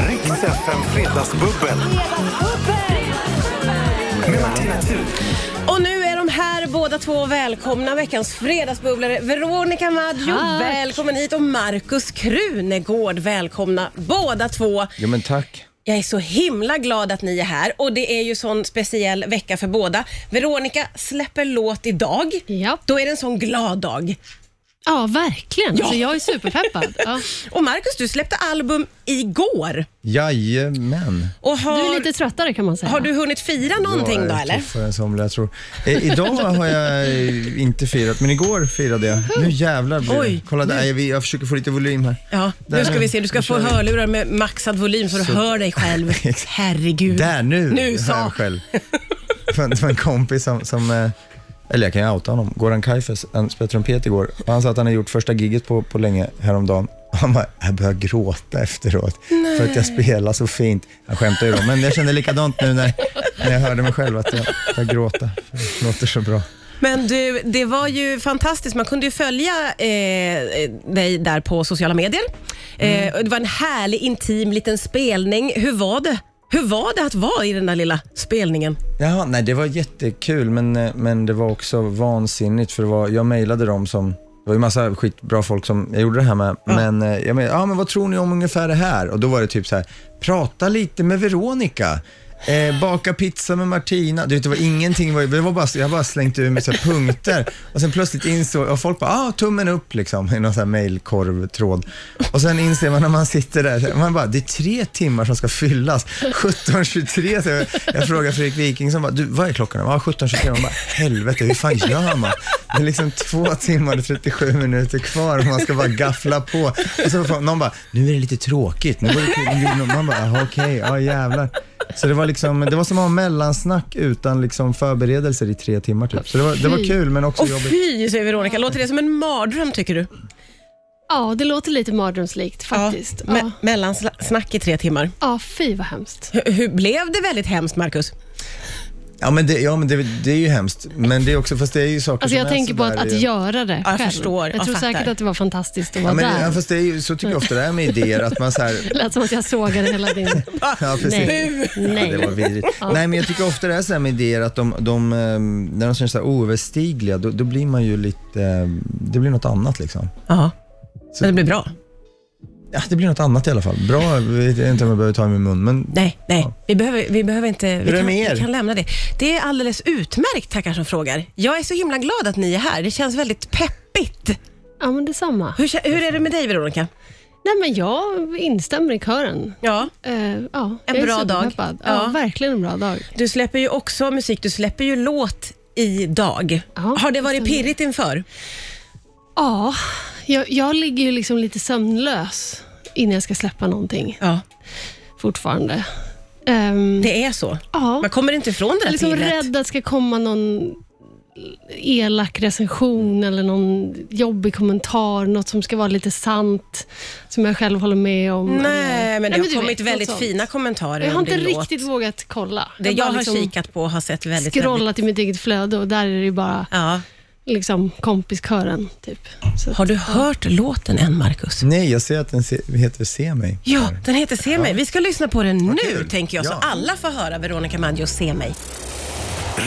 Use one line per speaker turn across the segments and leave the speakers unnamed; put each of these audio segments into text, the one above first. FM Fredagsbubbel med Martina Thun.
Och nu är de här båda två välkomna veckans fredagsbubblare. Veronica Maggio,
Tack.
välkommen hit och Markus Krunegård, välkomna båda två.
Jo men tack.
Jag är så himla glad att ni är här och det är ju sån speciell vecka för båda. Veronica släpper låt idag.
Ja.
Då är det en sån glad dag.
Ja, verkligen. Så jag är superpeppad. Ja.
Och Markus, du släppte album igår.
Jajamän.
Och har,
Du är lite tröttare kan man säga.
har du hunnit fira någonting
Jag
då
är
eller?
tuffare än somliga tror. Eh, idag har jag eh, inte firat, men igår firade jag. Nu jävlar blir
Oj,
det. Kolla där, jag, jag försöker få lite volym här.
Ja, nu
Där
ska
nu.
vi se. Du ska
Nu
få
kör vi.
hörlurar med maxad volym så du hör dig själv.
Exakt.
Herregud.
Där nu,
Nu
hör
sa.
jag själv. Det var en kompis som, som eh, eller jag kan ju outa honom, Goran Kajfes, han spelade trumpet igår. Och han sa att han hade gjort första giget på, på länge häromdagen. Och Han bara, jag börjar gråta efteråt för att jag spelar så fint. Jag skämtar ju då, men jag kände likadant nu när, när jag hörde mig själv att jag började gråta. för Det låter så bra.
Men du, det var ju fantastiskt. Man kunde ju följa eh, dig där på sociala medier.
Mm.
Eh, och det var en härlig, intim liten spelning. Hur var det? Hur var det att vara i den där lilla spelningen?
Jaha, nej det var jättekul men, eh, men det var också vansinnigt för det var, jag mejlade dem som, det var ju massa skitbra folk som jag gjorde det här med, men eh, jag mejlade, ja men vad tror ni om ungefär det här? Och då var det typ så här, prata lite med Veronica. Eh, baka pizza med Martina. Du vet, det var ingenting, var ju- det var bara, jag bara slängt ur mig så här punkter och sen plötsligt insåg och folk bara, ah, tummen upp liksom i någon sån här mejlkorvtråd. Och sen inser man när man sitter där, så här, man bara, det är tre timmar som ska fyllas. 17.23, så jag, jag frågar Fredrik Wiking som bara, du, vad är klockan? Ja, 17.23. Man bara, helvete, hur fan gör man? Det är liksom två timmar och 37 minuter kvar och man ska bara gaffla på. Och så får någon bara, nu är det lite tråkigt, nu var det kul, nu gjorde någon- man bara, "Jaha, okej, ja jävlar. Så det var liksom, det var som att ha mellansnack utan liksom förberedelser i tre timmar typ. Så det var, det var kul men också
Och
jobbigt.
fy, säger Veronica. Låter det som en mardröm tycker du?
Ja, det låter lite mardrömslikt faktiskt. Ja,
Ja, me- mellansnack i tre timmar.
ja fy vad hemskt. Alltså,
Hur, hur blev det väldigt hemskt, Markus?
Ja men, det, ja, men det, det är ju hemskt. Men det är också, fast det är ju saker
Alltså
som
jag
är
tänker på
sådär
att, att
ju.
göra det
jag
själv.
förstår. Jag
Jag tror
fattar.
säkert att det var fantastiskt att vara
Ja, men, ja,
där.
fast det är ju, så tycker jag ofta det är med idéer, att man så här,
Det lät som att jag sågade hela din...
ja, precis.
Nej.
Ja, det
Nej.
var vidrigt. Nej, men jag tycker ofta det är så här med idéer att de, de, eh, när de känns så här oöverstigliga, då, då blir man ju lite, eh, det blir något annat liksom.
Ja,
Så-
men det blir bra.
Ja, det blir något annat i alla fall. Bra, jag vet inte om jag behöver ta i min mun, men
Nej, nej. Vi, behöver, vi behöver inte... Vi
är det
kan,
med er?
vi kan lämna det. Det är alldeles utmärkt, tackar som frågar. Jag är så himla glad att ni är här. Det känns väldigt peppigt.
Ja, men detsamma.
Hur, kä- hur är det med dig, Veronica?
Nej, men jag instämmer i kören.
Ja.
Eh, ja, jag är
bra dag.
superpeppad.
Ja.
Ja, verkligen en bra dag.
Du släpper ju också musik. Du släpper ju låt idag.
Ja,
Har det varit
det stämmer.
pirrigt inför?
Ja, jag, jag ligger ju liksom lite sömnlös innan jag ska släppa någonting
Ja.
fortfarande. Ehm,
Det är så.
ja,
Man kommer inte ifrån det
jag är
där
liksom
pirret.
rädd att det ska komma någon elak recension eller någon jobbig kommentar, något som ska vara lite sant, som jag själv håller med om. eller-
Nej, men det
du
har kommit
vet,
väldigt
något sånt.
fina kommentarer
Jag har
om
inte
din låt.
riktigt vågat kolla.
Det jag
bara
har
liksom
kikat på har sett väldigt... väldigt-
scrollat i mitt eget flöde och där är det ju bara
Ja.
liksom, kompiskören. Typ. Så att-
Har du hört låten än, Markus?
nej, jag ser att den se, heter Se mig.
Ja, den heter Se mig. Vi ska lyssna på den nu,
Mm. kul.
tänker jag, så
Ja.
alla får höra Veronica Maggios Se mig.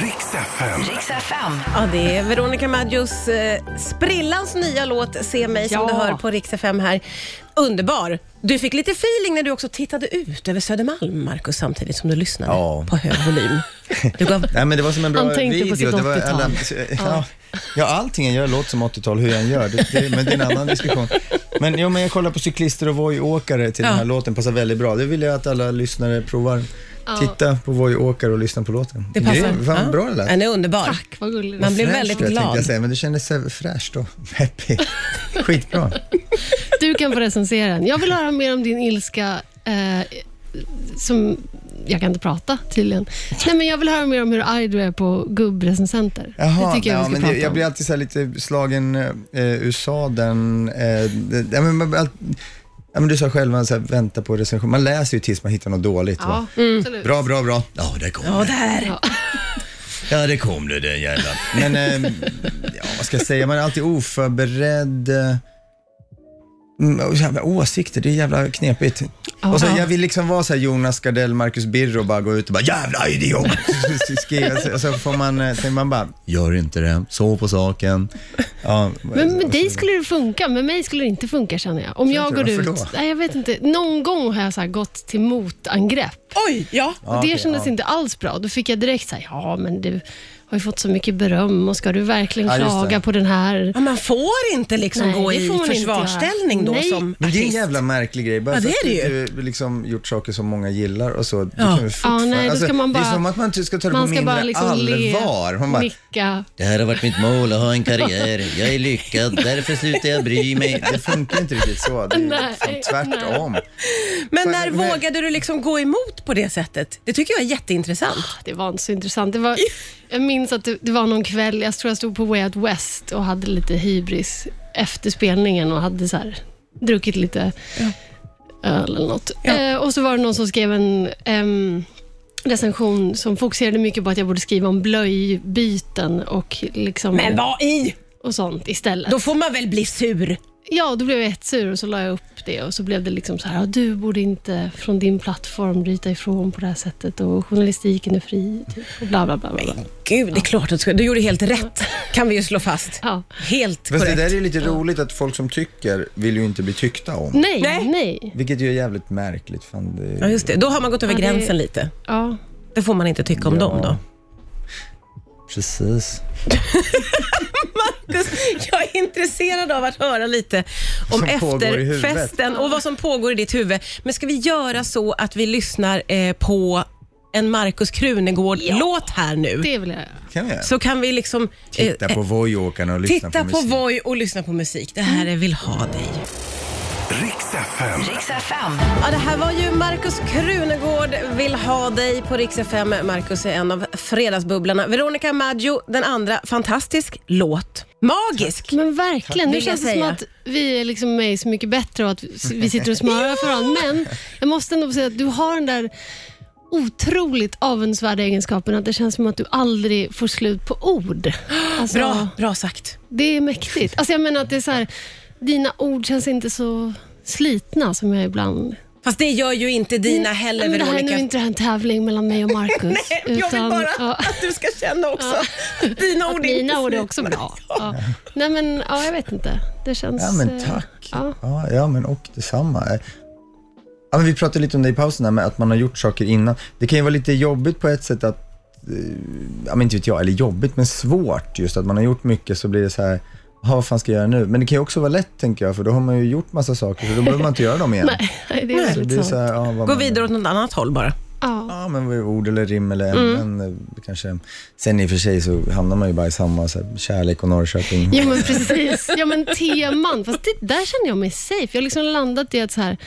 Riks FM.
Riks FM.
Ja, det är Veronica Maggios eh, sprillans nya låt Se mig som
Ja.
du hör på Rix FM här. Underbar! Du fick lite feeling när du också tittade ut över Södermalm, Markus, samtidigt som du lyssnade
Ja.
på hög volym. Du gav...
Nej, men det var som en bra
Han tänkte
video.
på sitt
det var
80-tal.
ja. ja, allting jag gör låter som 80-tal, hur jag än gör. Det, det, men det är en annan diskussion. Men, jo, men jag kollar på cyklister och Voi-åkare till den
Ja.
här låten, passar väldigt bra. Det vill jag att alla lyssnare provar. Titta på Voi-åkare och lyssna på låten.
Det passar.
Grym, fan
Ja.
bra det lät.
Den är underbar.
Tack, vad gulligt.
Man blir
Fräscht,
väldigt
jag tänkte
glad.
Jag säga, men det kändes så här fräscht och peppig. Skitbra.
Du kan få recensera den. Jag vill höra mer om din ilska eh, som... Jag kan inte prata tydligen. Nej, men jag vill höra mer om hur arg du är på gubbrecensenter. det tycker jag
ja,
vi ska
men
prata
det, jag
om.
blir alltid så här lite slagen eh, USA, den... Eh, det, ja, men, man- allt- ja, men du sa själv, man så här, vänta på recension. Man läser ju tills man hittar något dåligt. Va?
Ja, absolut.
Mm. Bra, bra, bra. Ja, där kom
Ja,
det.
där!
Ja.
Ja, det kom det, den jävla. Men, eh, ja, vad ska jag säga? Man är alltid oförberedd. eh, Mm, och så här, men åsikter, det är jävla knepigt. Och så,
Ja.
jag vill liksom vara så här Jonas Gardell, Marcus Birro och bara gå ut och bara jävla idiot. Så skriva, så, så får man, eh, tänker man bara, gör inte det, sov på saken. Ja,
Men med dig skulle det funka, med mig skulle det inte funka känner jag. Om jag
inte
går
det? Varför
ut...
då?
Nej, jag vet inte. Någon gång har jag så här gått till motangrepp.
Oj, ja.
och det
okej,
kändes
ja.
inte alls bra. Då fick jag direkt så här, ja men du har ju fått så mycket beröm och ska du verkligen
Ja, just det.
klaga på den här?
Ja, man får inte liksom
Nej,
gå
det
i
får man inte
försvarsställning
göra.
då
Nej.
som
Men det är en
artist.
jävla märklig grej. Bara
Ja,
för
det är
att
det
Du, du liksom gjort saker som många gillar och så. Du
Ja.
kan väl fortfarande- Alltså,
Ja, nej, då ska man
det är
bara-
som att man inte ska ta det på
Man ska
mindre
bara liksom le,
allvar. Man bara,
nicka.
Det här har varit mitt mål att ha en karriär. Jag är lyckad, därför slutar jag bry mig.
det funkar inte riktigt så. Det är
Nej,
liksom tvärtom.
Men när
Men- men-
vågade du liksom gå emot på det sättet? Det tycker jag är jätteintressant.
Det var inte så intressant. Det var, jag minns att det, det var någon kväll, jag tror jag stod på Way Out West och hade lite hybris efter spelningen och hade så här, druckit lite öl eller något.
Ja.
Eh, och så var det någon som skrev en ehm, recension som fokuserade mycket på att jag borde skriva om blöjbyten och, liksom,
Men vad i?
och sånt istället.
Då får man väl bli sur.
Ja, då blev jag jättesur och så la jag upp det och så blev det liksom så här, "Ja, du borde inte från din plattform bryta ifrån på det här sättet och journalistiken är fri typ, och bla bla bla. bla, bla.
Gud, det är klart att du ska. Du gjorde helt rätt, kan vi ju slå fast.
Ja.
Helt
Fast det
korrekt.
där är ju lite roligt att folk som tycker vill ju inte bli tyckta om.
Nej,
Nej.
nej.
Vilket ju är jävligt märkligt. Fan, det...
Ja, just det. Då har man gått över
Ja, det-
gränsen lite.
Ja.
Det får man inte tycka om
Ja.
dem då.
Precis.
Marcus, jag är intresserad av att höra lite om
Som pågår i huvudet.
efterfesten och vad som pågår i ditt huvud. Men ska vi göra så att vi lyssnar eh, på en Markus Krunegård-låt här nu?
Det vill jag göra.
Kan vi göra.
Så kan vi liksom eh,
Titta på Voi-åkarna och lyssna
titta
på
på
musik.
Voi och lyssna på musik. Det här är Vill ha dig.
Riks FM.
Riks FM.
Ja, det här var ju Markus Krunegård vill ha dig på Rix FM. Markus är en av fredagsbubblarna. Veronica Maggio, den andra. Fantastisk låt. Magisk.
Men verkligen, nu
Vill jag
känns det
säga.
som att vi är liksom med Så mycket bättre och att vi sitter och smörar för varandra. Men jag måste ändå säga att du har den där otroligt avundsvärda egenskapen att det känns som att du aldrig får slut på ord. Alltså,
Bra, bra sagt.
Det är mäktigt. Alltså jag menar att det är så här, dina ord känns inte så slitna som jag ibland...
Fast det gör ju inte dina heller,
Nej, men Det här är
Veronica.
nu inte en tävling mellan mig och Markus.
Nej, jag vill bara
ja,
att du ska känna också att dina
att
ord är
mina
inte
ord är
slut.
också bra. Ja. Nej, men ja, jag vet inte. Det känns...
Ja, men
eh,
tack.
Ja.
Ja. Ja, men och detsamma. Eh, Ja, men vi pratade lite om det i pausen här med att man har gjort saker innan. Det kan ju vara lite jobbigt på ett sätt att, eh, ja men inte vet jag, eller jobbigt men svårt just att man har gjort mycket så blir det så här, "Jaha, vad fan ska jag göra nu? Men det kan ju också vara lätt tänker jag för då har man ju gjort massa saker så då behöver man inte göra dem igen.
Nej, nej, det är
Så
väldigt
det är
sant.
så här, ja, vad
Gå
man-
vidare åt något annat håll bara.
Ja.
Ja, men vad är ord eller rim eller ämnen
Mm.
eh, kanske. Sen i och för sig så hamnar man ju bara i samma så här, kärlek och Norrköping.
Jo men precis. Ja men teman. Fast det, där känner jag mig safe. Jag har liksom landat i att så här,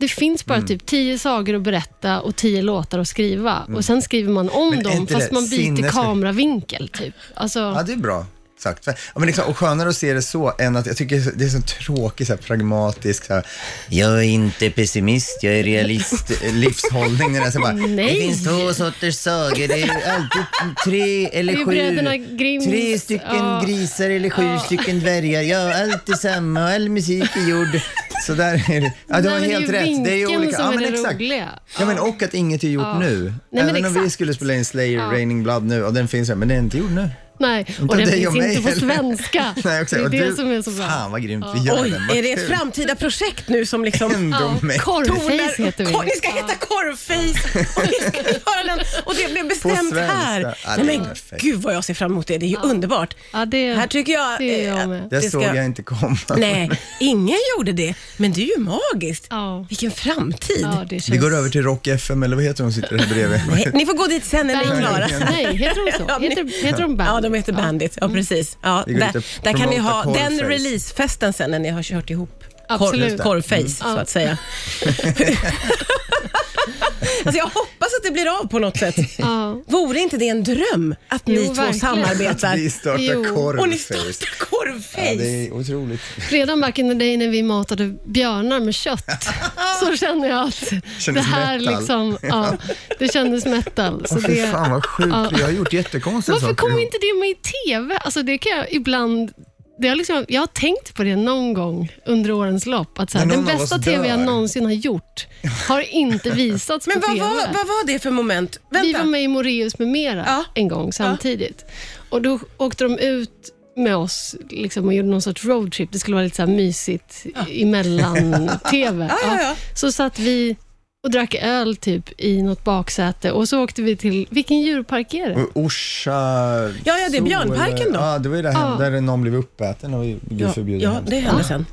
det finns
Mm.
bara typ tio sagor att berätta och tio låtar att skriva. Och sen skriver man om
Mm. Men är
dem
inte
fast
det
man byter
sinnes-
kameravinkel. Typ. Alltså,
Ja, det är bra sagt. Ja, men liksom, och skönare att se det så än att jag tycker det är så tråkigt, så här, pragmatisk så här,
Jag är inte pessimist, jag är realist.
st- livshållning. Den där, så bara,
Det
nej.
finns två sorters sagor. Det är alltid tre eller
Det är
sju.
bröderna Grimms.
Tre stycken
Ja.
grisar eller sju stycken dvärgar. Ja, allt är samma och all musik är gjord.
så där är det. Ja, du
Nej,
har
men
helt
det är ju
rätt. Det är ju
vinkeln
olika.
som
Ja,
är
men
det
exakt.
roliga.
Ja, men och att inget är gjort nu.
men
Även om vi
exakt.
skulle spela in Slayer, Raining Blood nu, och den finns här, men den är inte gjord nu.
Nej, och den
av dig
finns
och mig,
inte på
eller?
svenska.
Nej, också,
det är
och
det
du-
som är så bra.
Fan vad grymt vi gör
Oj,
den. Vad
är det ett
kul.
framtida projekt nu som liksom...
Ändå
Ja,
med-
Korvface heter vi.
Kor- Ni ska heta Korvface och vi ska göra den och det blev bestämt
svenska.
här.
Ja, det är
Nej, men
perfekt.
gud vad jag ser fram emot det. Det är ju underbart.
Ja, det,
Här tycker jag...
det är
eh,
jag med.
Det,
det
såg
ska-
jag inte komma.
Nej, ingen gjorde det. Men det är ju magiskt.
Ja.
Vilken framtid.
Ja, det känns...
Vi går över till Rock FM, eller vad heter hon som sitter här bredvid?
Nej, Ni får gå dit sen när ni är klara.
Nej, Mm. heter de
Ja,
så?
men-
Heter, heter de Bandit?
Ja, de heter Bandit. Ja, precis. Ja,
Vi går
där,
inte
där kan ni ha
promota
den
Cornface.
releasefesten sen när ni har kört ihop
Absolut. Mm. Just
Kor-
det.
korvface, så att säga. alltså, jag hoppas att det blir av på något sätt.
Ja.
Vore inte det en dröm att ni
Jo,
två
verkligen.
samarbetar?
Vi startar
Jo.
Och ni
Korvface.
startar Korvface!
Ja, det är otroligt.
Redan back in the day när vi matade björnar med kött, så känner jag att det här
metal.
liksom, ja, det kändes metal. Så
Åh, fy
det,
fan vad sjukt,
Ja.
vi har gjort jättekonstiga
varför
saker.
kom inte det med i TV? Alltså det kan jag ibland det har liksom, jag har tänkt på det någon gång under årens lopp. Att så här,
När
den
någon av
bästa
oss
TV jag
dör.
någonsin har gjort har inte visats
Men
på
vad
TV.
var, vad var det för moment? Vänta.
Vi var med i Moreus med mera
Ja.
en gång samtidigt. Och Då åkte de ut med oss liksom, och gjorde någon sorts roadtrip. Det skulle vara lite så här mysigt emellan-TV.
Ja, ja, ja.
Så satt vi och drack öl typ i något baksäte och så åkte vi till, vilken djurpark är det?
Och Orsa...
Ja, ja, det är
Sol-
Björnparken då.
Ja, det var ju det här,
Ja.
där någon blev uppäten och gud
Ja,
förbjude
ja,
hemskt.
det hände sen.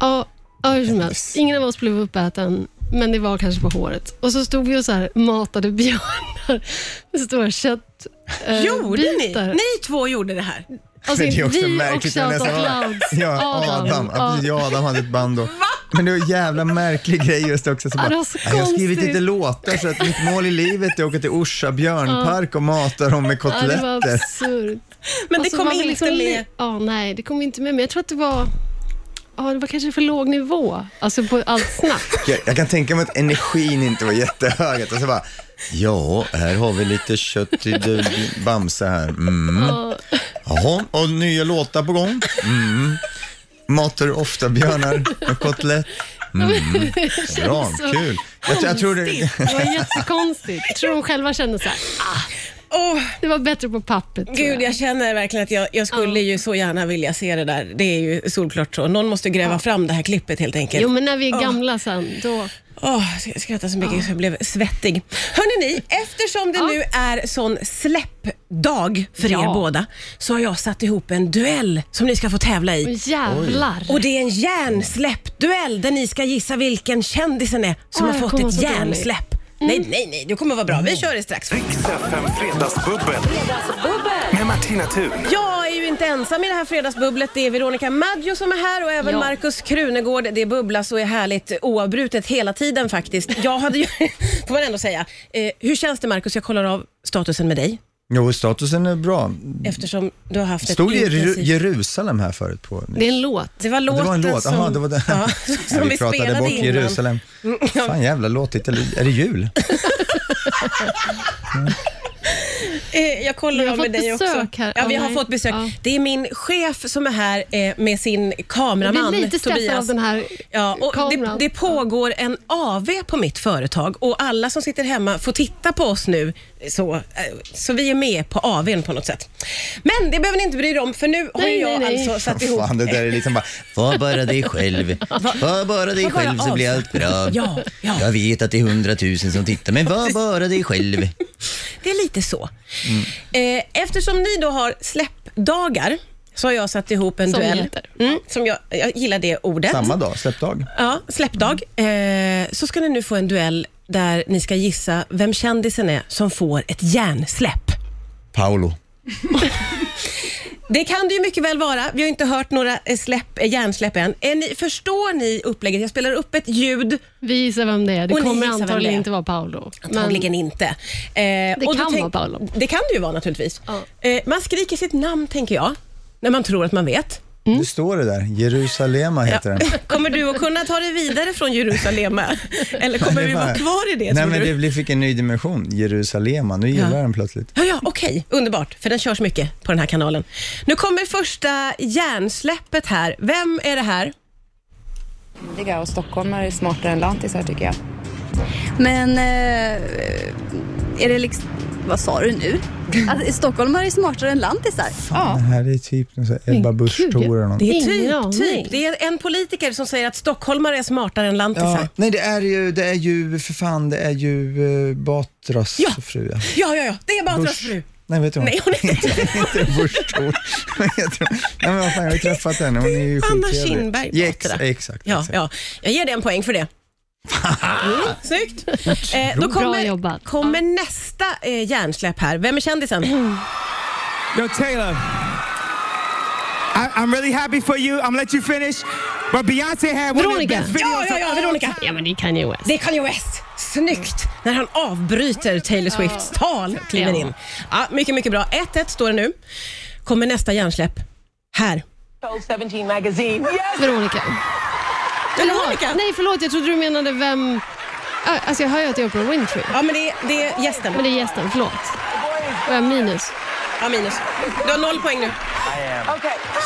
Ja, ja hur som helst. Ingen av oss blev uppäten, men det var kanske på håret. Och så stod vi och så här matade björnar med stora kött eh,
Gjorde ni?
bitar.
Ni två gjorde det här.
Alltså,
Men det är också
vi
märkligt.
och
jag
Shout Out
nästan var-
Louds.
Ja, Adam. Ja, precis, jag och Adam hade ett band då. Men det var en jävla märklig grej just också. Så
Ja,
bara,
det var så
"Ja, jag har skrivit
konstigt."
lite låtar så att mitt mål i livet är att åka till Orsa björnpark och mata dem med
Ja, det var
kotletter.
absurt.
Men
Och
det
så
kom
Alltså, var vi liksom
inte
li-
med.
Ja, nej, det kom inte med. Men jag tror att det var... Ja, det var kanske för låg nivå. Alltså på allt snack.
Jag, jag kan tänka mig att energin inte var jättehög. Och så bara, ja, här har vi lite kött i det- Bamse här. Mm.
Ja,
Jaha, och nya låtar på gång. Mm. Matar du ofta björnar med kotlett? Mm. Bra,
så
kul. Jag, jag tror det...
det var jättekonstigt. Jag tror de själva kände så här.
Åh,
Det var bättre på pappret. tror
Gud, jag känner verkligen att jag, jag skulle ju så gärna vilja se det där. Det är ju solklart så. Någon måste gräva fram det här klippet helt enkelt.
Jo, men när vi är gamla sen, då...
Åh, jag skrattar så mycket så jag blev svettig. Hörrni, ni, eftersom det
Ja.
nu är sån släppdag för
Ja.
er båda så har jag satt ihop en duell som ni ska få tävla i.
Jävlar.
Och det är en hjärnsläppduell där ni ska gissa vilken kändisen är som
Åh,
har
jag
fått
kommer Mm. vara
ett
så dålig.
hjärnsläpp. Nej, nej, nej, det kommer vara bra.
Mm.
Vi kör det strax.
Riks FM Fredagsbubbel. Med Martina Thun.
Jag är ju inte ensam i det här fredagsbubblet. Det är Veronica Maggio som är här och även
Ja.
Markus Krunegård. Det bubblas och är härligt oavbrutet hela tiden faktiskt. Jag hade ju, får man ändå säga. Eh, hur känns det Markus? Jag kollar av statusen med dig
Jo, statusen är bra.
eftersom du har haft
Stod
ett
det Jeru-
intensivt...
Jerusalem här förut? På...
Det är en låt.
Det var låten
det var en låt.
som,
Aha, det var den.
Ja,
Ja,
som vi,
vi pratade
spelade
bort
innan. Mm,
Jerusalem. Fan jävla låttitel. Är det jul?
Eh, jag kollar
Vi har
av med
fått
dig
besök
också.
här.
Ja,
Ja,
vi har
nej.
fått besök.
Ja.
Det är min chef som är här eh, med sin
Jag
kameraman
blir lite stressad
Tobias.
av den här
Ja, och det,
kameran.
det pågår en AV på mitt företag och alla som sitter hemma får titta på oss nu. Så, eh, så vi är med på AVn på något sätt. Men det behöver ni inte bry er om för nu har
Nej,
jag
nej, nej.
alltså satt ihop...
Fan, det där är liksom bara...
Var bara dig själv. Var bara dig
Var bara
själv så blir allt
avslappnad.
bra.
Ja, ja.
Jag vet att det är hundratusen som tittar, men var bara dig själv.
Det är lite så.
Mm.
Eh, eftersom ni då har släppdagar så har jag satt ihop en
Som
duell.
heter.
Mm, som jag, jag gillar det ordet.
Samma dag, släppdag.
Ja, släppdag. Eh, så ska ni nu få en duell där ni ska gissa vem kändisen är som får ett hjärnsläpp.
Paolo.
Det kan det ju mycket väl vara. Vi har inte hört några eh, släpp, eh, hjärnsläpp än. Är ni, förstår ni upplägget? Jag spelar upp ett ljud,
Vi gissar vem det är. Det
Och ni
kommer
gissar vem
antagligen
det är.
inte vara Paolo.
antagligen inte. Eh, det
kan vara Paolo.
Det kan det ju vara naturligtvis.
Ja.
Eh, man skriker sitt namn, tänker jag, när man tror att man vet.
Nu står det där. Jerusalema heter den.
Kommer du att kunna ta dig vidare från Jerusalem? Eller kommer
Det
vi
var-
vara kvar i det?
Nej,
tror
men
du?
det blir- fick en ny dimension. Jerusalema, nu gillar
Ja.
jag den plötsligt.
Ja, ja, okej. Underbart, för den körs mycket på den här kanalen. Nu kommer första hjärnsläppet här. Vem är det här?
modiga och stockholmare är smartare än lantisar tycker jag.
Men eh, är det liksom... Vad sa du nu? Att stockholmare är smartare än lantisar?
Den här är typ någon sån här Ebba
Men
Busch
gud,
Thor eller något.
Det är
Ingen
typ,
aning.
typ. Det är en politiker som säger att stockholmare är smartare än lantisar.
Ja, nej, det är ju, det är ju, för fan, det är ju uh, Batras
Ja.
fru. Ja.
Ja, ja, ja. Det är Batras
Busch.
fru.
Nej, vet du vad?
Nej, hon är inte
Inte Busch Thor. Men jag tror- Nej, men vad fan, jag har ju träffat henne. Hon är ju
Anna
skittrevlig.
Kinberg
Ja, ex,
Batra.
exakt. exakt.
Ja, ja. Jag ger dig en poäng för det. Mm, snyggt. Eh, då
Bra
kommer,
jobbat.
kommer nästa eh, hjärnsläpp här. Vem är
Mm.
kändisen?
Yo, Taylor. I, I'm really happy for you. I'm gonna let you finish. But Beyonce had one of the
Veronica.
best videos.
Ja, ja, ja, Veronica.
Ja, men det kan ju West.
Det är Kanye West. Snyggt! När han avbryter Taylor Swifts tal och kliver in. Ja, mycket, mycket bra. 1-1 står det nu. Kommer nästa hjärnsläpp. Här.
Told 17 magazine. Yes!
Veronica.
Veronica!
Nej, förlåt. Jag trodde du menade vem... Ah, Alltså, jag hör ju att det är Oprah Winfrey.
Ja, men det, är- det är gästen.
Men det är gästen. Förlåt. Och jag minus.
Ja, minus. Du har noll poäng nu.
Okay.
This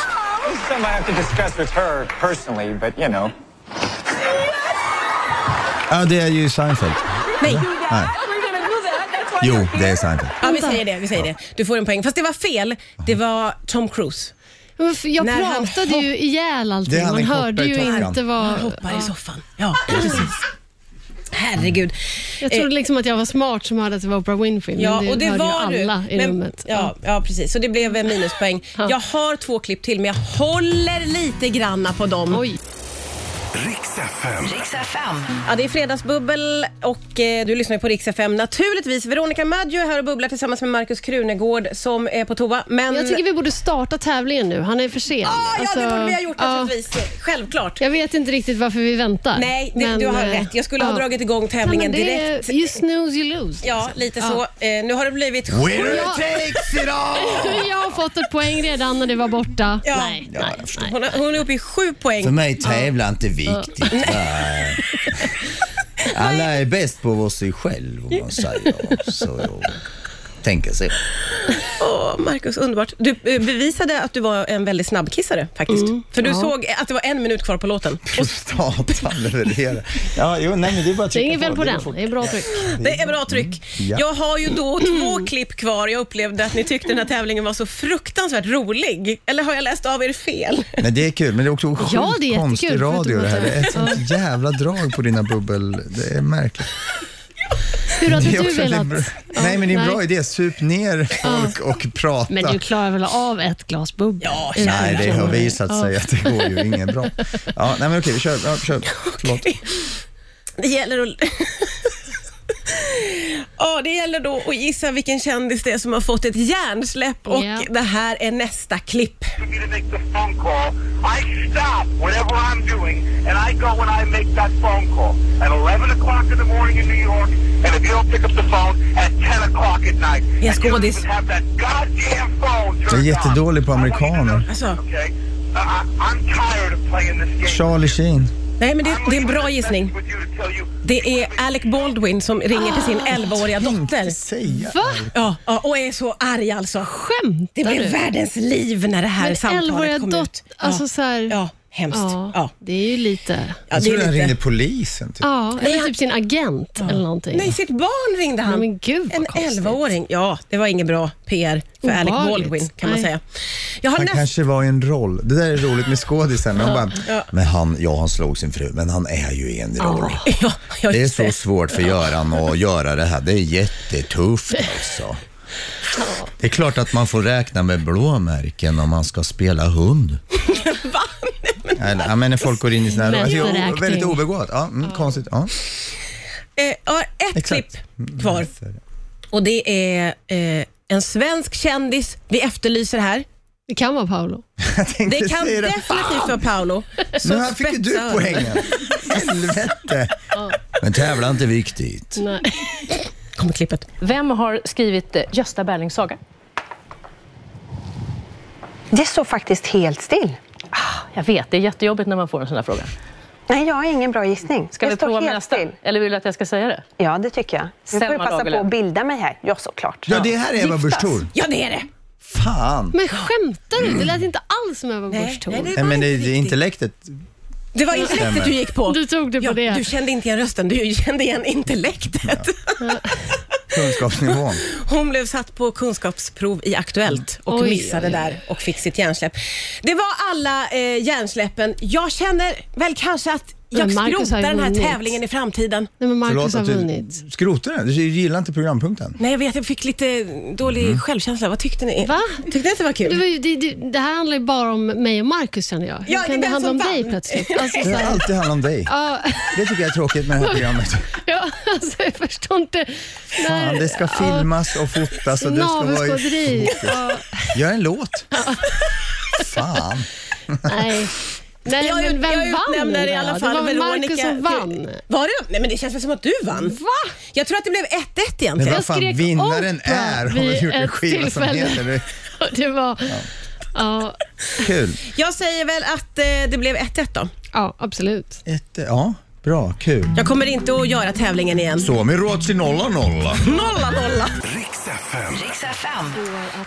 is something I have to discuss with her personally, but you know.
Ja, det är ju Seinfeld.
Nej.
Nej. Jo, det är Seinfeld.
Ja, vi säger det. Vi säger det. Du får en poäng. Fast det var fel. Det var Tom Cruise.
Men för Jag
När han
pratade ju ihjäl
Det
allting.
är han
Man
en
hörde
koppar i
ju
Top Gun.
inte vad...
Han hoppar
ja.
i soffan. Ja, precis. Herregud. Eh,
Jag trodde liksom att jag var smart som hörde att det var Oprah Winfrey, men det, hörde ju alla i
Men-
rummet.
Ja, ja, precis. Så det blev en minuspoäng.
Ja.
Jag har två klipp till, men jag håller lite granna på dem.
Oj.
Riks FM.
Ja, det är fredagsbubbel och eh, du lyssnar ju på Rix FM. Naturligtvis, Veronica Maggio är här och bubblar tillsammans med Markus Krunegård som är på toa. Men...
Jag tycker vi borde starta tävlingen nu. Han är för sen.
ah, ja,
Alltså,
det borde vi ha gjort
ja.
naturligtvis. Självklart.
Jag vet inte riktigt varför vi väntar.
Nej, det, du har
eh,
rätt. Jag skulle ha
ja.
dragit igång
Nej,
tävlingen
men det är-
direkt.
You snooze, you lose.
Ja, lite
Ja.
så. Eh, nu har det blivit...
Winner takes it all!
Jag har fått ett poäng redan när det var borta.
Ja.
Nej,
Ja,
nej, nej.
Hon, har- hon är uppe i sju poäng.
För mig tävlar inte viktigt. va? Alla är bäst på vad sig själv om man säger så. jag Tänker så.
Åh, Marcus, underbart. Du eh, bevisade att du var en väldigt snabbkissare faktiskt. För du
Mm. ja.
såg att det var en minut kvar på låten.
Prostatan levererar. Ja, jo, nej, men det är bara att
Det är
trycka
inget fel på
Det
den.
går fort.
Det är bra tryck.
Det är bra tryck.
Ja.
Jag har ju då två klipp kvar. Jag upplevde att ni tyckte den här tävlingen var så fruktansvärt rolig. Eller har jag läst av er fel?
Men det är kul, men det är också sjukt
Ja, det är
konstig
jättekul,
radio det här. Det är ett
förutom att-
sånt jävla drag på dina bubbel. Det är märkligt.
Hur hade
Det är
du
också- det är
velat?
bra- Nej, men det är en bra idé. Sup ner folk och prata.
Men du klarar väl av ett glas bubbel?
Ja,
Utan
Nej, det har
krångel.
visat sig att det går ju inget bra. Ja, nej men okej, vi kör. Ja, kör. Förlåt.
Det gäller att... Ja, det gäller då att gissa vilken kändis det är som har fått ett hjärnsläpp och
Ja.
det här är nästa klipp.
for me to make the phone call, I stop whatever I'm doing and I go and I make that phone call at 11 o'clock in the morning in New York. And if you don't pick up the phone at 10 o'clock at night,
Yes,
and you
go with
don't
this.
even have that goddamn phone
Jag är
turned on.
jättedålig på amerikaner.
Alltså,
Okay? I- I- I'm tired of playing this game.
Charlie Sheen.
nej men det,
I'm
det är en
leaving
bra
this
gissning.
message with you to tell you-
Det är Alec Baldwin som ringer till sin
Ah.
11-åriga dotter.
Säga.
Va?
Ja, ja, och är så arg alltså. Det
Skämtar
blev
du?
världens liv när det här
Men
samtalet
11-åriga
kom
dot-
ut.
alltså så här-
ja, hemskt. Ja.
Ja, det är ju lite...
Ja,
Jag
det är
trodde han
lite...
ringde polisen. Typ.
Ja,
Nej,
eller
han-
typ sin agent eller någonting.
Nej, sitt barn ringde han.
Nej, men gud, vad
en
konstigt.
11-åring. Ja, det var ingen bra PR för Alec
Obehagligt.
Baldwin kan man
Nej.
säga. Jag har
Han
näst...
kanske var i en roll. Det där är roligt med skådisar. Men, bara,
Ja.
men han, ja, han slog sin fru, men han är ju i en roll.
Ja, jag
Det är
just
så svårt för Göran att göra det här. Det är jättetufft alltså. Det är klart att man får räkna med blåmärken om man ska spela hund.
Eller, ja, men när folk går in i såna här
Människoräkning.
roller. Alltså, väldigt obegåvat. Ja, mm, Konstigt. Ja.
Eh, jag har ett
Exakt.
klipp kvar och det är eh, en svensk kändis vi efterlyser här.
Det kan vara Paolo.
Jag tänkte
Det kan
säga
definitivt vara Paolo.
Nu här fick ju du
spetsar.
poängen. Helvete.
Men tävla inte viktigt.
Nej.
Kommer klippet.
Vem har skrivit eh, Gösta Berlings saga?
Det står faktiskt helt still.
Jag vet, det är jättejobbigt när man får en sån här fråga.
Nej, jag har ingen bra gissning.
Ska
det
vi
står
prova med
helt
nästa?
still.
Eller vill du att jag ska säga det?
Ja, det tycker jag. Nu får
Selma
jag passa på
Lagerlöf.
att bilda mig här. Ja, såklart.
Ja, det här är Ebba Busch Thor.
Ja, det är det.
Fan.
Men skämtar du? Det lät inte alls som Ebba
Nej,
Busch Thor.
Eh, nej, det-
Nej, men det, det är
riktigt.
intellektet.
Det var intellektet
Stämmer.
du gick på.
Du tog det på
ja,
det.
Du kände inte igen rösten, du kände igen intellektet.
Kunskapsnivån.
Hon blev satt på kunskapsprov i Aktuellt
Mm.
och
Oj,
missade
oj, oj.
där och fick sitt hjärnsläpp. Det var alla eh, hjärnsläppen. Jag känner väl kanske att jag
Men Marcus har ju
skrotar den här
vunnit.
tävlingen i framtiden.
Nej, men Marcus
Förlåt
har
att du
vunnit.
skrotar den. Du gillar inte programpunkten.
Nej, jag vet, jag fick lite dålig självkänsla. Vad tyckte ni?
Va?
Tyckte ni att det var kul?
Det, var ju, det, det, det här handlar ju bara om mig och Marcus känner jag. Hur
Ja, det är
kan det
vem
handla om
som
dig
vann.
plötsligt? Alltså, så
Det
här,
alltid handlar om dig.
ja,
Det tycker jag är tråkigt med det här programmet.
ja, alltså, jag förstår inte.
Fan,
När-
det ska filmas och fotas
Ja,
och du ska vara
Navelskåderi.
i...
Ja,
Gör en låt. Fan.
nej. Nej,
Jag-
men vem
jag
vann?
utnämner
då?
i alla
Det
fall
var väl
Veronica
Marcus som
till-
vann?
Var det? Nej, men det känns väl som att du vann?
Va?
Jag tror att det blev 1-1
Men
egentligen.
vad fan,
skrek
vinnaren
opera
är har
vid
väl gjort en
ett
skiva som
tillfälle.
heter det.
Det var... Ja,
Kul.
Jag säger väl att eh, det blev 1-1 då.
ja absolut.
Ett, ja, bra, kul.
Jag kommer inte att göra tävlingen igen.
Så, med råd till nolla nolla.
Nolla, nolla.
Riks FM. FM.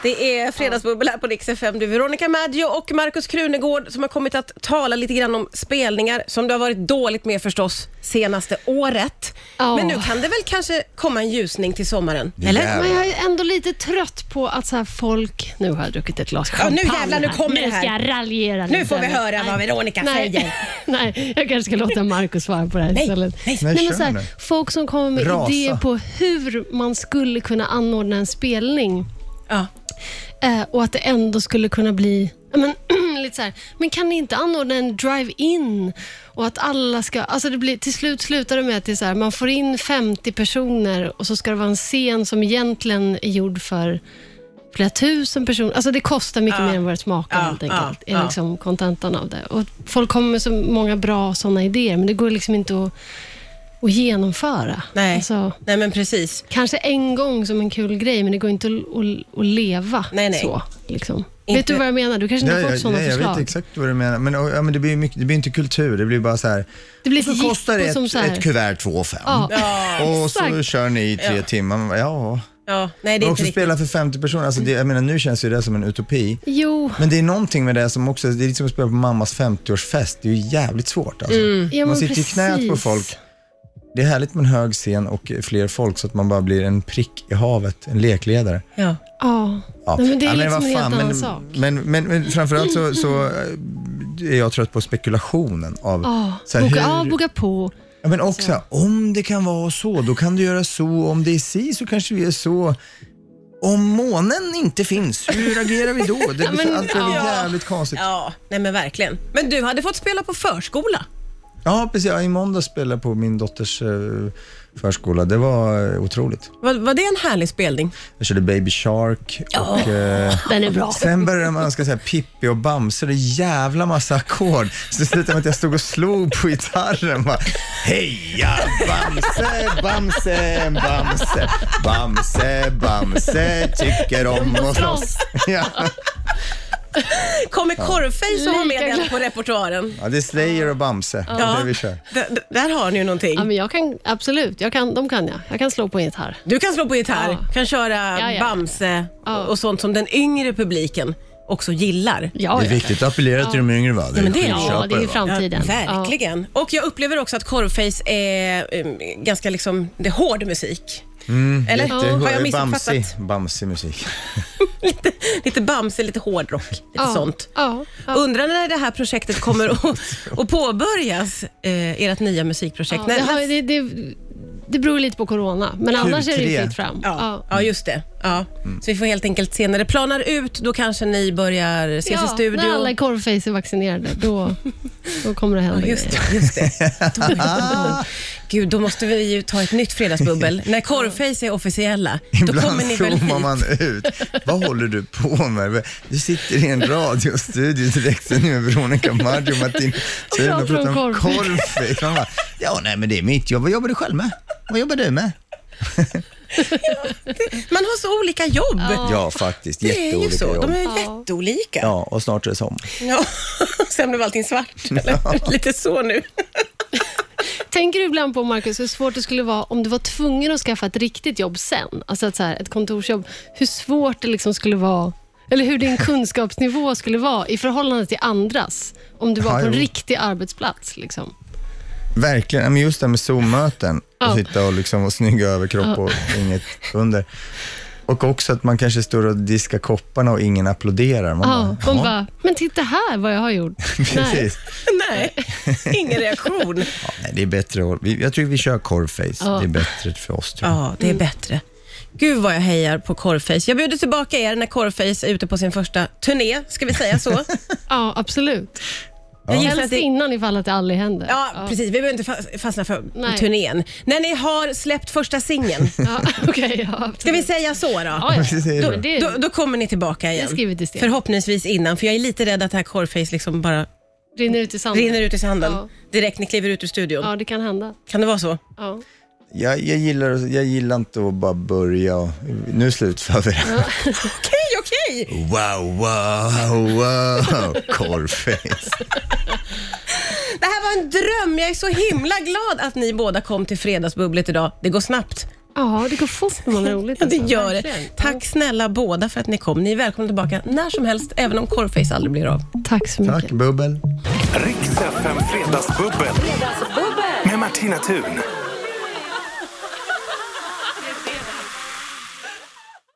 Det är Fredagsbubbel här på Rix FM. Det är Veronica Maggio och Markus Krunegård som har kommit att tala lite grann om spelningar som det har varit dåligt med förstås senaste året.
Ja.
Men nu kan det väl kanske komma en ljusning till sommaren? Eller?
Men jag är ändå lite trött på att så här folk... Nu har jag druckit ett glas
Ja, nu
champagne.
jävlar, nu
här.
kommer det
Nu ska
här.
jag raljera
Nu
lite
får vi
över-
höra vad
Nej.
Veronica
Nej.
säger.
Nej, jag kanske ska låta Markus svara på det här
Nej,
istället.
nej.
Nej,
Nej,
men så
kör
här,
nu.
folk som kommer med
Rasa.
idéer på hur man skulle kunna anordna en spelning.
Ja.
Eh, och att det ändå skulle kunna bli ja, men, lite så här, men kan ni inte anordna en drive-in? Och att alla ska, alltså det blir, till slut slutar det med att det är så här, man får in 50 personer och så ska det vara en scen som egentligen är gjord för flera tusen personer. Alltså det kostar mycket
Ja.
mer än vad det smakar
Ja,
helt enkelt.
ja,
är
ja.
liksom kontentan av det. Och folk kommer med så många bra sådana idéer, men det går liksom inte att, att genomföra.
Nej.
Alltså,
Nej, men precis.
Kanske en gång som en kul grej, men det går inte att, att, att leva
nej.
så. Liksom.
Inte-
Vet du vad jag menar? Du kanske inte har
Ja,
fått sådana
ja,
förslag?
Jag vet exakt vad du menar. Men, och, ja, men det, blir ju mycket, det blir inte kultur, det blir bara så här.
Det blir ett
så
jippo
kostar det
som
ett,
så här-
ett kuvert 2,5.
Ja. Ja,
och så
exakt.
kör ni i tre
Ja.
timmar. Man bara, Ja.
Ja, nej, det
Men
är
också
inte riktigt.
spela för 50 personer. Alltså det, jag menar, nu känns ju det som en utopi.
Jo.
Men det är någonting med det som också, det är lite som att spela på mammas 50-årsfest. Det är ju jävligt svårt alltså.
Mm. Ja, men
man sitter i knät på
precis.
folk. Det är härligt med en hög scen och fler folk så att man bara blir en prick i havet, en lekledare.
Ja.
ja. Nej, men det är
Ja,
liksom
vad
en helt
fan,
annan
men,
sak.
Men, men, men framförallt så, så eh, är jag trött på spekulationen av
Ja,
så här,
boka
hur-
av, boka på.
Ja, men också, om det kan vara så, då kan du göra så. Om det är si, så kanske vi är så. Om månen inte finns, hur agerar vi då? Det
Ja,
blir,
men-
allt blir
ja.
jävligt konstigt.
Ja, nej men verkligen. Men du hade fått spela på förskola.
Ja, precis. Ja, I måndag spelade jag på min dotters eh, förskola. Det var eh, otroligt.
Var, var det en härlig spelning?
Jag körde Baby Shark och... eh,
den är bra.
Sen började man önska så här Pippi och Bamse, det är jävla massa ackord. Så det slutade med att jag stod och slog på gitarren. Bara, Heja Bamse, Bamse, Bamse, Bamse, Bamse tycker om att slåss. Ja.
Kommer
Ja.
Korvface att ha med
Lika
den
glad.
på repertoaren?
ja, det är Slayer och Bamse. Det är det vi kör.
D- d- där har ni ju någonting.
Ja, men jag kan, absolut, jag kan, de kan jag. Jag kan slå på en gitarr.
Du kan slå på gitarr,
Ja.
kan köra
Ja, ja.
Bamse och sånt som den yngre publiken också gillar.
det är viktigt att appellera till de yngre va?
Ja, men det är,
skitköpare, va?
Ja, verkligen. Och jag upplever också att Korvface är um, ganska liksom, det är hård musik.
Mm,
Eller?
Eller? Jätte,
Har jag
Bamsi,
missuppfattat?
Bamsi musik.
Lite Bamse, lite hårdrock, lite
Ja.
sånt.
Ja, ja.
Undrar när det här projektet kommer att, att påbörjas, eh, ert nya musikprojekt.
Ja,
när,
det, har, det, det, det beror lite på corona, men annars är det ju
Q3.
fritt fram.
Ja, ja just det. Ja.
Mm.
Så vi får helt enkelt se när det planar ut. Då kanske ni börjar ses i studio.
När alla i Corvface är vaccinerade, då, då kommer det hända
Ja, just det,
grejer.
just det. Då- då- Gud, då måste vi ju ta ett nytt fredagsbubbel. När Corvface är officiella, då kommer
Ibland
ni väl hit?
zoomar man ut. Vad håller du på med? Du sitter i en radiostudio direkt nu med Veronica Maggio, Martin Thun och pratar om korv. Man bara, Ja, nej, men det är mitt jobb. Vad jobbar du själv med? Vad jobbar du med?
Man har så olika jobb.
Ja, faktiskt.
det är ju
Jätteolika
så.
jobb.
De är jätteolika.
Ja, och snart är det sommar.
Ja. Sen blev allting svart. Eller? Lite så nu.
Tänker du ibland på, Markus, hur svårt det skulle vara om du var tvungen att skaffa ett riktigt jobb sen? Alltså ett, så här, ett kontorsjobb. Hur svårt det liksom skulle vara, eller hur din kunskapsnivå skulle vara i förhållande till andras, om du var
Ja,
på en
jo.
riktig arbetsplats. Liksom.
Verkligen. Ja, Men just det här med Zoom-möten.
Ja.
Och sitta och liksom vara snygga överkropp
Ja.
och inget under. Och också att man kanske står och diskar kopparna och ingen applåderar. Man
Ja,
bara,
de
"Jaha."
bara, men titta här vad jag har gjort.
Precis.
Nej, ingen reaktion.
Nej, det är bättre att- vi- Jag tror vi kör korvface.
Ja.
Det är bättre för oss. Tror jag.
Ja,
Mm.
det är bättre. Gud vad jag hejar på Corvface. Jag bjuder tillbaka er när Corvface är ute på sin första turné, ska vi säga så?
ja, absolut.
Jag gissar att
Helst
det-
innan ifall att det aldrig händer.
Ja, precis. Vi behöver inte fa- fastna för
Nej.
turnén. När ni har släppt första singeln,
Ja, okej, ja,
ska vi säga så då?
ja. Vi säger
Då,
så. Det-
då, då kommer ni tillbaka
Det
igen.
skriver till Sten.
Förhoppningsvis innan, för jag är lite rädd att det här Corvface liksom bara
Rinner ut i sanden.
rinner ut i sanden
Ja.
direkt ni kliver ut ur studion.
Ja, det kan hända.
Kan det vara så?
Ja.
Jag, jag, gillar, jag gillar inte att bara börja och, Nu slutför vi det.
Okej, okej!
Wow, wow, wow, korvface.
Det här var en dröm. Jag är så himla glad att ni båda kom till Fredagsbubblet idag. Det går snabbt.
Ja, det går fort när man har roligt.
Ja, det
alltså.
gör det.
Verkligen.
Tack snälla båda för att ni kom. Ni är välkomna tillbaka när som helst, även om Cornface aldrig blir av.
Tack så mycket.
Tack, bubbel.
Riks FM Fredagsbubbel. Med Martina Thun.